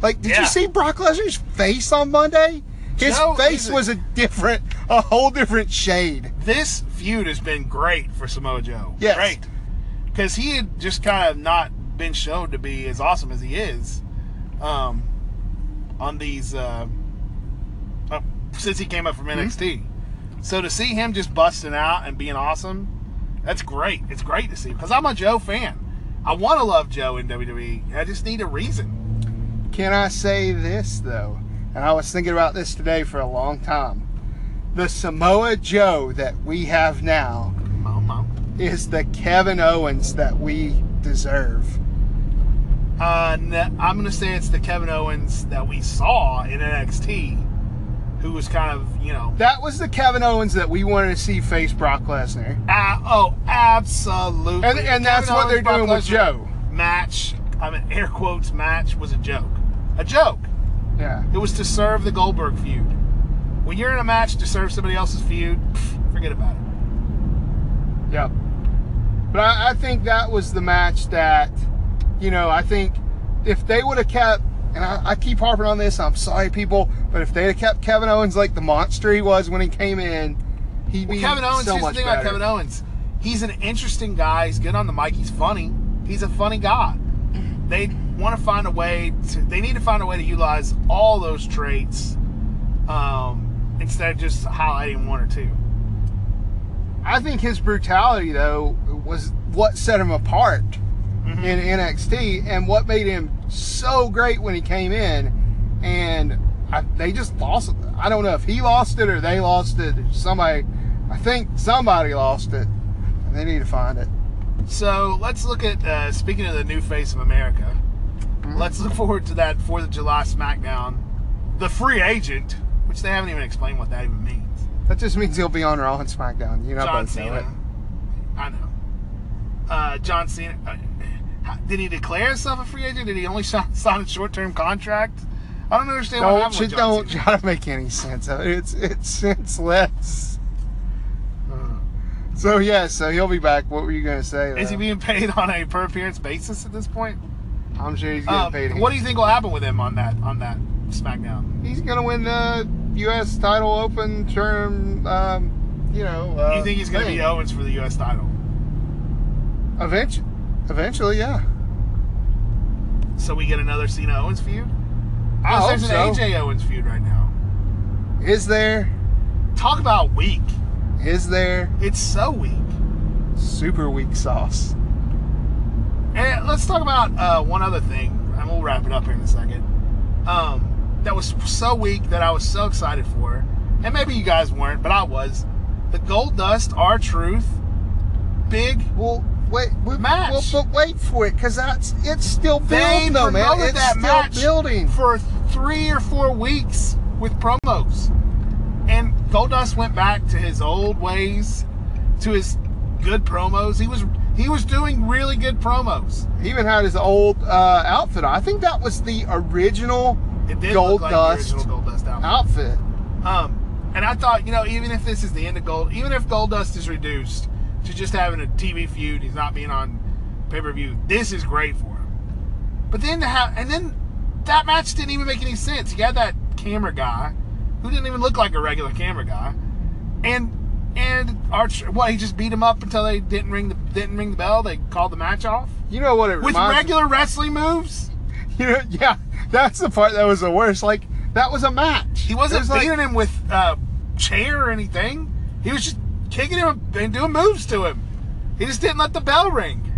Speaker 3: Like, did
Speaker 4: Yeah.
Speaker 3: you see Brock Lesnar's face on Monday? His
Speaker 4: Joe
Speaker 3: face
Speaker 4: is a-
Speaker 3: was a different, a whole different shade.
Speaker 4: This feud has been great for Samoa Joe.
Speaker 3: Yes.
Speaker 4: Great. Because he had just kind of not been shown to be as awesome as he is um, on these, uh, uh, since he came up from NXT. So to see him just busting out and being awesome, that's great. It's great to see because I'm a Joe fan. I want to love Joe in WWE. I just need a reason.
Speaker 3: Can I say this though? And I was thinking about this today for a long time. The Samoa Joe that we have now
Speaker 4: Mom, mom.
Speaker 3: is the Kevin Owens that we deserve.
Speaker 4: Uh, n- I'm going to say it's the Kevin Owens that we saw in NXT, who was kind of, you know,
Speaker 3: That was the Kevin Owens that we wanted to see face Brock Lesnar.
Speaker 4: a- oh, absolutely.
Speaker 3: And- and that's what they're
Speaker 4: Brock
Speaker 3: doing with
Speaker 4: Lesnar
Speaker 3: Joe.
Speaker 4: Match, I mean, air quotes, match was a joke. A joke.
Speaker 3: Yeah.
Speaker 4: It was to serve the Goldberg feud. When you're in a match to serve somebody else's feud, pff, forget about it.
Speaker 3: Yep. But I, I think that was the match that, you know, I think if they would have kept, and I, I keep harping on this, I'm sorry, people, but if they had kept Kevin Owens like the monster he was when he came in, he'd be
Speaker 4: Well, Kevin Owens,
Speaker 3: so
Speaker 4: here's the
Speaker 3: much
Speaker 4: thing
Speaker 3: better.
Speaker 4: about Kevin Owens. He's an interesting guy. He's good on the mic. He's funny. He's a funny guy. They want to find a way to, they need to find a way to utilize all those traits um, instead of just highlighting one or two.
Speaker 3: I think his brutality though was what set him apart
Speaker 4: Mm-hmm.
Speaker 3: in NXT and what made him so great when he came in. And I, they just lost. I don't know if he lost it or they lost it. Somebody, I think somebody lost it. And they need to find it.
Speaker 4: So let's look at uh, speaking of the new face of America. Let's look forward to that Fourth of July SmackDown, the free agent, which they haven't even explained what that even means.
Speaker 3: That just means he'll be on Raw and SmackDown. You know,
Speaker 4: John
Speaker 3: both know it.
Speaker 4: Cena. I know. Uh, John Cena. Uh, how- did he declare himself a free agent? Did he only sign, sign a short-term contract? I don't understand what
Speaker 3: Don't
Speaker 4: happened
Speaker 3: you,
Speaker 4: with John
Speaker 3: don't
Speaker 4: Cena.
Speaker 3: try to make any sense of it. It's it's senseless. So yeah, so he'll be back. What were you gonna say?
Speaker 4: Is he
Speaker 3: though?
Speaker 4: being paid on a per appearance basis at this point?
Speaker 3: I'm sure he's getting
Speaker 4: Um,
Speaker 3: paid.
Speaker 4: what do you think will happen with him on that on that SmackDown?
Speaker 3: he's gonna win the U.S. title open term. Um, you know, uh,
Speaker 4: you think he's going to
Speaker 3: thing.
Speaker 4: be Owens for the U.S. title?
Speaker 3: eventually? Eventually, yeah.
Speaker 4: So we get another Cena Owens feud?
Speaker 3: I
Speaker 4: Unless
Speaker 3: hope
Speaker 4: there's
Speaker 3: so.
Speaker 4: an AJ Owens feud right now.
Speaker 3: Is there?
Speaker 4: Talk about weak.
Speaker 3: Is there
Speaker 4: It's so weak.
Speaker 3: super weak sauce?
Speaker 4: And let's talk about uh, one other thing, and we'll wrap it up here in a second. Um, that was so weak that I was so excited for, and maybe you guys weren't, but I was. The Gold Dust, our truth, big
Speaker 3: Well, wait, we,
Speaker 4: Match.
Speaker 3: Well, but wait for it, because that's it's still
Speaker 4: They
Speaker 3: building, though, man.
Speaker 4: promoted
Speaker 3: It's
Speaker 4: that
Speaker 3: still
Speaker 4: match
Speaker 3: building.
Speaker 4: for three or four weeks with promos, and Goldust went back to his old ways, to his good promos. He was he was doing really good promos.
Speaker 3: He even had his old uh, outfit on. I think that was the original
Speaker 4: It did
Speaker 3: Gold
Speaker 4: look like
Speaker 3: Dust
Speaker 4: the original Goldust album.
Speaker 3: outfit.
Speaker 4: Um, and I thought, you know, even if this is the end of Gold, even if Goldust is reduced to just having a TV feud, he's not being on pay per view. This is great for him. But then to have, and then that match didn't even make any sense. You had that camera guy who didn't even look like a regular camera guy, and and Arch, what he just beat him up until they didn't ring the didn't ring the bell. They called the match off
Speaker 3: You know what it
Speaker 4: with
Speaker 3: reminds
Speaker 4: regular wrestling moves.
Speaker 3: You know, yeah, that's the part that was the worst. Like that was a match.
Speaker 4: He
Speaker 3: It
Speaker 4: wasn't
Speaker 3: was like-
Speaker 4: beating him with uh, chair or anything. He was just kicking him and doing moves to him. He just didn't let the bell ring.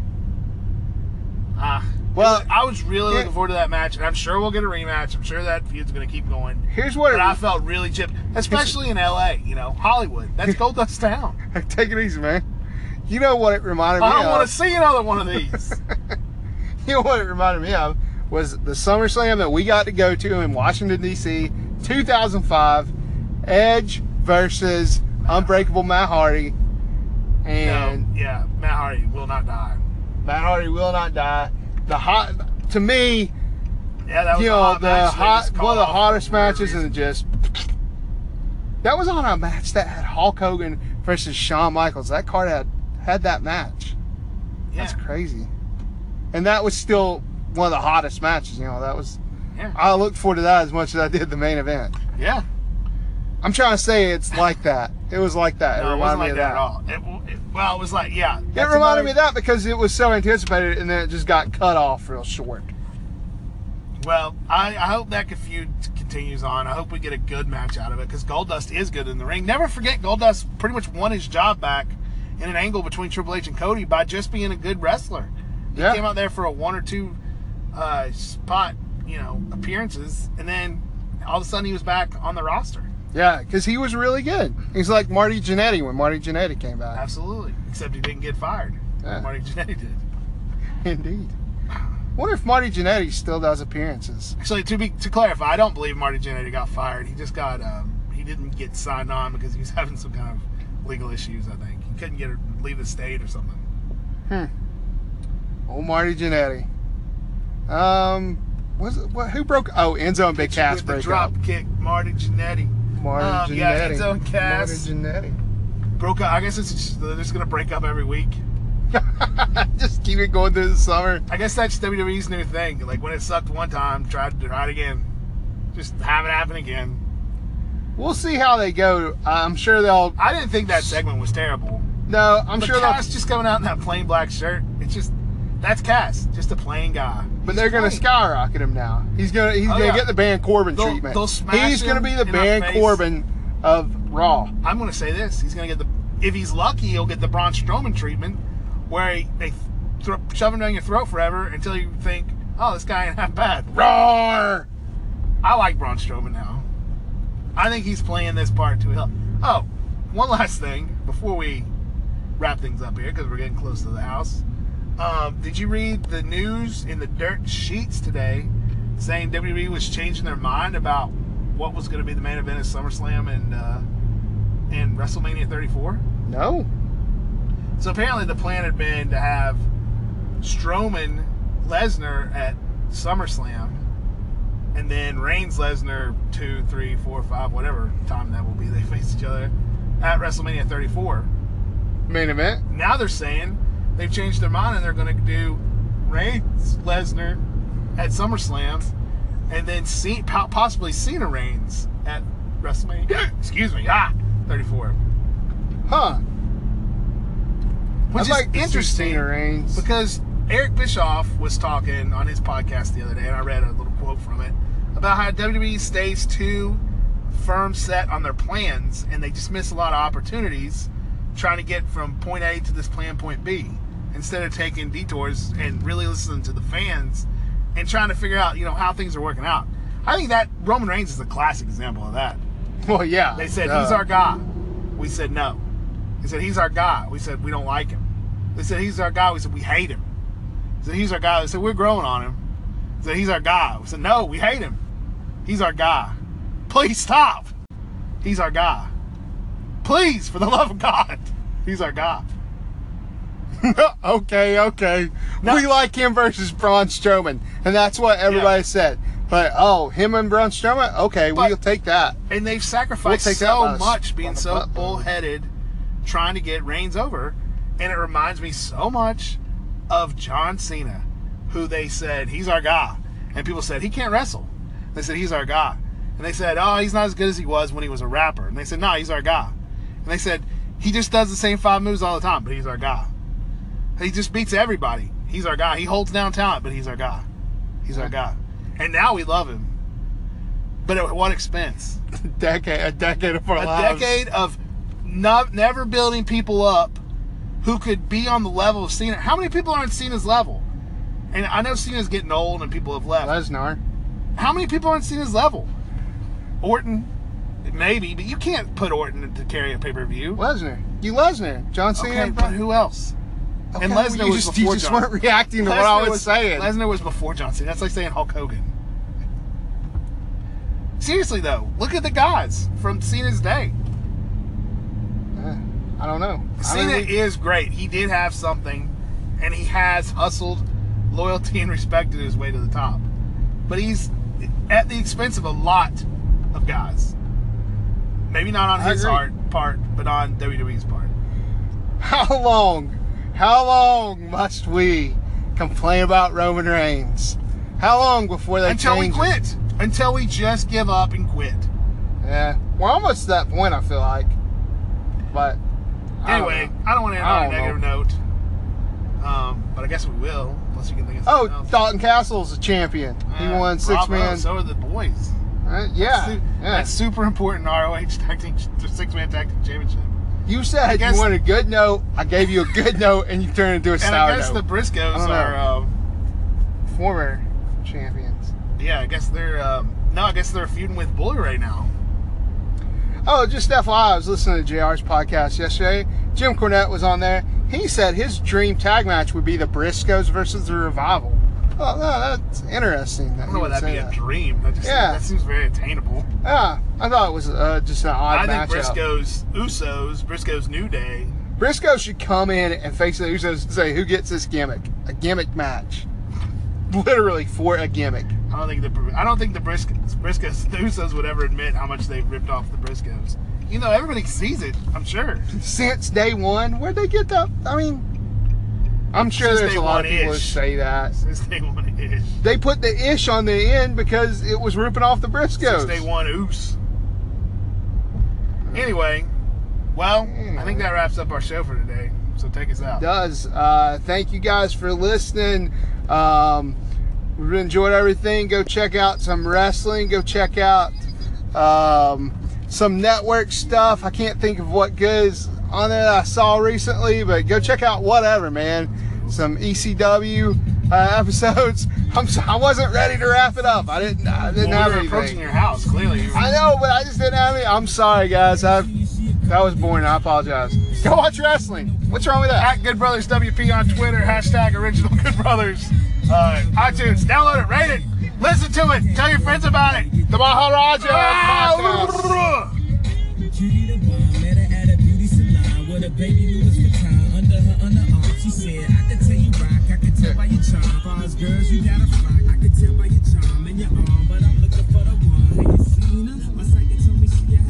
Speaker 4: Ah,
Speaker 3: Well,
Speaker 4: I was really
Speaker 3: yeah.
Speaker 4: looking forward to that match, and I'm sure we'll get a rematch. I'm sure that feud's going to keep going.
Speaker 3: here's what.
Speaker 4: But I
Speaker 3: It,
Speaker 4: felt really gypped, especially in L.A. You know, Hollywood. That's Goldust Town.
Speaker 3: take it easy, man. You know what it reminded me
Speaker 4: I don't
Speaker 3: of.
Speaker 4: want to see another one of these.
Speaker 3: You know what it reminded me of was the SummerSlam that we got to go to in Washington D.C. 2005, Edge versus Unbreakable Matt Hardy, and
Speaker 4: no, yeah, Matt Hardy will not die.
Speaker 3: Matt Hardy will not die. The hot to me,
Speaker 4: Yeah, that was
Speaker 3: you
Speaker 4: a
Speaker 3: know,
Speaker 4: hot
Speaker 3: the
Speaker 4: match. They
Speaker 3: hot
Speaker 4: just
Speaker 3: one of
Speaker 4: called
Speaker 3: the
Speaker 4: off for
Speaker 3: hottest
Speaker 4: whatever
Speaker 3: matches, and
Speaker 4: reason.
Speaker 3: it just that was on a match that had Hulk Hogan versus Shawn Michaels. That card had had that match. That's
Speaker 4: Yeah,
Speaker 3: crazy, and that was still one of the hottest matches. You know, that was.
Speaker 4: yeah,
Speaker 3: I looked forward to that as much as I did the main event.
Speaker 4: yeah.
Speaker 3: I'm trying to say it's like that. It was like that. it
Speaker 4: No, it
Speaker 3: reminded
Speaker 4: wasn't like
Speaker 3: me
Speaker 4: that, at
Speaker 3: of
Speaker 4: all. It, w- it- well, it was like, yeah.
Speaker 3: that. It reminded me of that because it was so anticipated, and then it just got cut off real short.
Speaker 4: Well, I, I hope that feud continues on. I hope we get a good match out of it because Goldust is good in the ring. Never forget, Goldust pretty much won his job back in an angle between Triple H and Cody by just being a good wrestler. He
Speaker 3: Yeah.
Speaker 4: came out there for a one or two uh, spot, you know, appearances, and then all of a sudden he was back on the roster.
Speaker 3: Yeah, because he was really good. He's like Marty Jannetty when Marty Jannetty came back.
Speaker 4: Absolutely. Except he didn't get fired.
Speaker 3: Yeah.
Speaker 4: Marty Jannetty did.
Speaker 3: Indeed. Wonder if Marty Jannetty still does appearances.
Speaker 4: Actually, to be to clarify, I don't believe Marty Jannetty got fired. He just got um, he didn't get signed on because he was having some kind of legal issues. I think he couldn't get her, leave the state or something.
Speaker 3: Oh, Marty Jannetty. Um, was it, what, who broke? Oh, Enzo and Big Cass
Speaker 4: With the
Speaker 3: break
Speaker 4: drop
Speaker 3: up.
Speaker 4: kick, Marty Jannetty
Speaker 3: Marty
Speaker 4: Um,
Speaker 3: Jannetty.
Speaker 4: yeah, Enzo and Cass.
Speaker 3: Marty Jannetty.
Speaker 4: broke up. I guess it's just, they're just gonna break up every week.
Speaker 3: just keep it going through the summer.
Speaker 4: I guess that's WWE's new thing. Like when it sucked one time, try to try it again. Just have it happen again.
Speaker 3: We'll see how they go. I'm sure they'll.
Speaker 4: I didn't think that segment was terrible.
Speaker 3: No, I'm
Speaker 4: but
Speaker 3: sure
Speaker 4: Cass
Speaker 3: they'll.
Speaker 4: just coming out in that plain black shirt. It's just that's Cass, just a plain guy.
Speaker 3: But they're going to
Speaker 4: plain.
Speaker 3: skyrocket him now. He's going to. He's
Speaker 4: Oh,
Speaker 3: going to
Speaker 4: yeah.
Speaker 3: get the Baron Corbin
Speaker 4: They'll-
Speaker 3: treatment.
Speaker 4: they'll smash
Speaker 3: he's going to
Speaker 4: him
Speaker 3: be the
Speaker 4: in our
Speaker 3: Baron
Speaker 4: face.
Speaker 3: Corbin of Raw.
Speaker 4: I'm going to say this: he's going to get the. If he's lucky, he'll get the Braun Strowman treatment, where he, they thro shove him down your throat forever until you think, "Oh, this guy ain't that bad."
Speaker 3: Roar!
Speaker 4: I like Braun Strowman now. I think he's playing this part too well. Oh, one last thing before we wrap things up here because we're getting close to the house. Um, did you read the news in the dirt sheets today saying WWE was changing their mind about what was going to be the main event of SummerSlam and uh, and WrestleMania 34?
Speaker 3: No.
Speaker 4: So apparently the plan had been to have Strowman Lesnar at SummerSlam, and then Reigns Lesnar two, three, four, five, whatever time that will be. They face each other at WrestleMania 34.
Speaker 3: Main event.
Speaker 4: Now they're saying they've changed their mind and they're going to do Reigns Lesnar at SummerSlam, and then see, po- possibly Cena Reigns at WrestleMania. Excuse me, ah, 34.
Speaker 3: Huh.
Speaker 4: Which
Speaker 3: I'd
Speaker 4: is
Speaker 3: like to see
Speaker 4: interesting.
Speaker 3: Cena Reigns.
Speaker 4: Because Eric Bischoff was talking on his podcast the other day, and I read a little quote from it about how WWE stays too firm set on their plans and they just miss a lot of opportunities trying to get from point A to this plan, point B, instead of taking detours and really listening to the fans and trying to figure out, you know, how things are working out. I think that Roman Reigns is a classic example of that.
Speaker 3: Well, yeah. Uh,
Speaker 4: They said
Speaker 3: duh.
Speaker 4: he's our guy. We said no. He said he's our guy. We said we don't like him. They said he's our guy. We said we hate him. They said he's our guy. They said we're growing on him. They said he's our guy. We said no, we hate him. He's our guy. Please stop. He's our guy. Please, for the love of God, he's our guy.
Speaker 3: okay, okay.
Speaker 4: No.
Speaker 3: We like him versus Braun Strowman, and that's what everybody
Speaker 4: Yeah.
Speaker 3: said. But oh, him and Braun Strowman. Okay,
Speaker 4: But-
Speaker 3: we'll take that.
Speaker 4: And they've sacrificed
Speaker 3: We'll take that
Speaker 4: so
Speaker 3: last
Speaker 4: much being
Speaker 3: on the
Speaker 4: so
Speaker 3: button.
Speaker 4: bullheaded trying to get Reigns over. And it reminds me so much of John Cena, who they said, he's our guy. And people said, he can't wrestle. They said, he's our guy. And they said, oh, he's not as good as he was when he was a rapper. And they said, no, he's our guy. And they said, he just does the same five moves all the time, but he's our guy. He just beats everybody. He's our guy. He holds down talent, but he's our guy. He's our guy. And now we love him. But at what expense?
Speaker 3: decade, a decade of our
Speaker 4: a
Speaker 3: lives.
Speaker 4: decade of not, never building people up who could be on the level of Cena. How many people are on Cena's level? And I know Cena's getting old and people have left.
Speaker 3: Lesnar.
Speaker 4: How many people are on Cena's level? Orton, maybe, but you can't put Orton to carry a pay per view.
Speaker 3: Lesnar. You Lesnar. John Cena.
Speaker 4: Okay,
Speaker 3: and
Speaker 4: but
Speaker 3: Braun.
Speaker 4: who else?
Speaker 3: Okay,
Speaker 4: and
Speaker 3: well,
Speaker 4: Lesnar
Speaker 3: you
Speaker 4: was
Speaker 3: just, you
Speaker 4: before
Speaker 3: just
Speaker 4: John.
Speaker 3: weren't reacting to what I was, saying.
Speaker 4: Lesnar was before John Cena. That's like saying Hulk Hogan. Seriously though, look at the guys from Cena's day.
Speaker 3: Eh, I don't know. I mean,
Speaker 4: Cena
Speaker 3: we-
Speaker 4: is great. He did have something, and he has hustled, loyalty, and respected his way to the top. But he's at the expense of a lot of guys. Maybe not on
Speaker 3: I
Speaker 4: his
Speaker 3: agree.
Speaker 4: art, part, but on WWE's part.
Speaker 3: how long? How long must we complain about Roman Reigns? How long before they
Speaker 4: Until we
Speaker 3: change it?
Speaker 4: quit. Until we just give up and quit.
Speaker 3: Yeah, we're almost to that point. I feel like, but I don't
Speaker 4: Anyway,
Speaker 3: know.
Speaker 4: I don't, want to end
Speaker 3: I
Speaker 4: on a
Speaker 3: don't
Speaker 4: negative note. Um, but I guess we will, unless you can think of
Speaker 3: Oh,
Speaker 4: something else.
Speaker 3: Dalton Castle's a champion. he
Speaker 4: Uh,
Speaker 3: won six
Speaker 4: bravo,
Speaker 3: man.
Speaker 4: So are the boys.
Speaker 3: Uh, yeah,
Speaker 4: Su-
Speaker 3: yeah.
Speaker 4: That's super important ROH tag team, six man tag team championship.
Speaker 3: You said
Speaker 4: guess-
Speaker 3: you wanted a good note. I gave you a good note, and you turned into a
Speaker 4: And I guess
Speaker 3: sourdough.
Speaker 4: the Briscoes
Speaker 3: I don't know.
Speaker 4: are, um,
Speaker 3: Former champions.
Speaker 4: yeah, I guess they're, um, no, I guess they're feuding with Bully right now.
Speaker 3: Oh, just FYI, I was listening to JR's podcast yesterday. Jim Cornette was on there. He said his dream tag match would be the Briscoes versus the Revival. Oh, no, that's interesting. That
Speaker 4: I don't know
Speaker 3: he
Speaker 4: why
Speaker 3: would
Speaker 4: that'd
Speaker 3: say
Speaker 4: be a
Speaker 3: that.
Speaker 4: dream. That just
Speaker 3: Yeah.
Speaker 4: that seems very attainable.
Speaker 3: Yeah, I thought it was uh, just an odd
Speaker 4: I
Speaker 3: matchup.
Speaker 4: think Briscoes, Usos, Briscoes New Day.
Speaker 3: Briscoe should come in and face the Usos and say, "Who gets this gimmick? A gimmick match, literally for a gimmick."
Speaker 4: I don't think the I don't think the Briscoes, Briscoes, the Usos would ever admit how much they've ripped off the Briscoes. You know, everybody sees it. I'm sure.
Speaker 3: Since day one, where'd they get that? I mean, I'm sure
Speaker 4: Since
Speaker 3: there's
Speaker 4: day
Speaker 3: a lot of
Speaker 4: one-ish.
Speaker 3: people who say that
Speaker 4: Since day one ish.
Speaker 3: they put the ish on the end because it was ripping off the
Speaker 4: Since
Speaker 3: Briscoes.
Speaker 4: day one oos. Anyway, well, I think that wraps up our show for today. So take us out.
Speaker 3: does. Uh, thank you guys for listening. Um, we've enjoyed everything. Go check out some wrestling. Go check out um, some network stuff. I can't think of what good is on it I saw recently, but go check out whatever, man. Some ECW uh, episodes. I'm so, I wasn't ready to wrap it up. I didn't. I didn't
Speaker 4: Well,
Speaker 3: have
Speaker 4: we
Speaker 3: anything.
Speaker 4: were approaching your house, clearly.
Speaker 3: I know, but I just didn't have any. I'm sorry, guys. I that was boring. I apologize. Go watch wrestling. What's wrong with that?
Speaker 4: At Good Brothers WP on Twitter, hashtag original Good Brothers. Uh, iTunes, download it, rate it, listen to it, tell your friends about it.
Speaker 3: The Maharaja.
Speaker 4: Ah,
Speaker 3: podcast.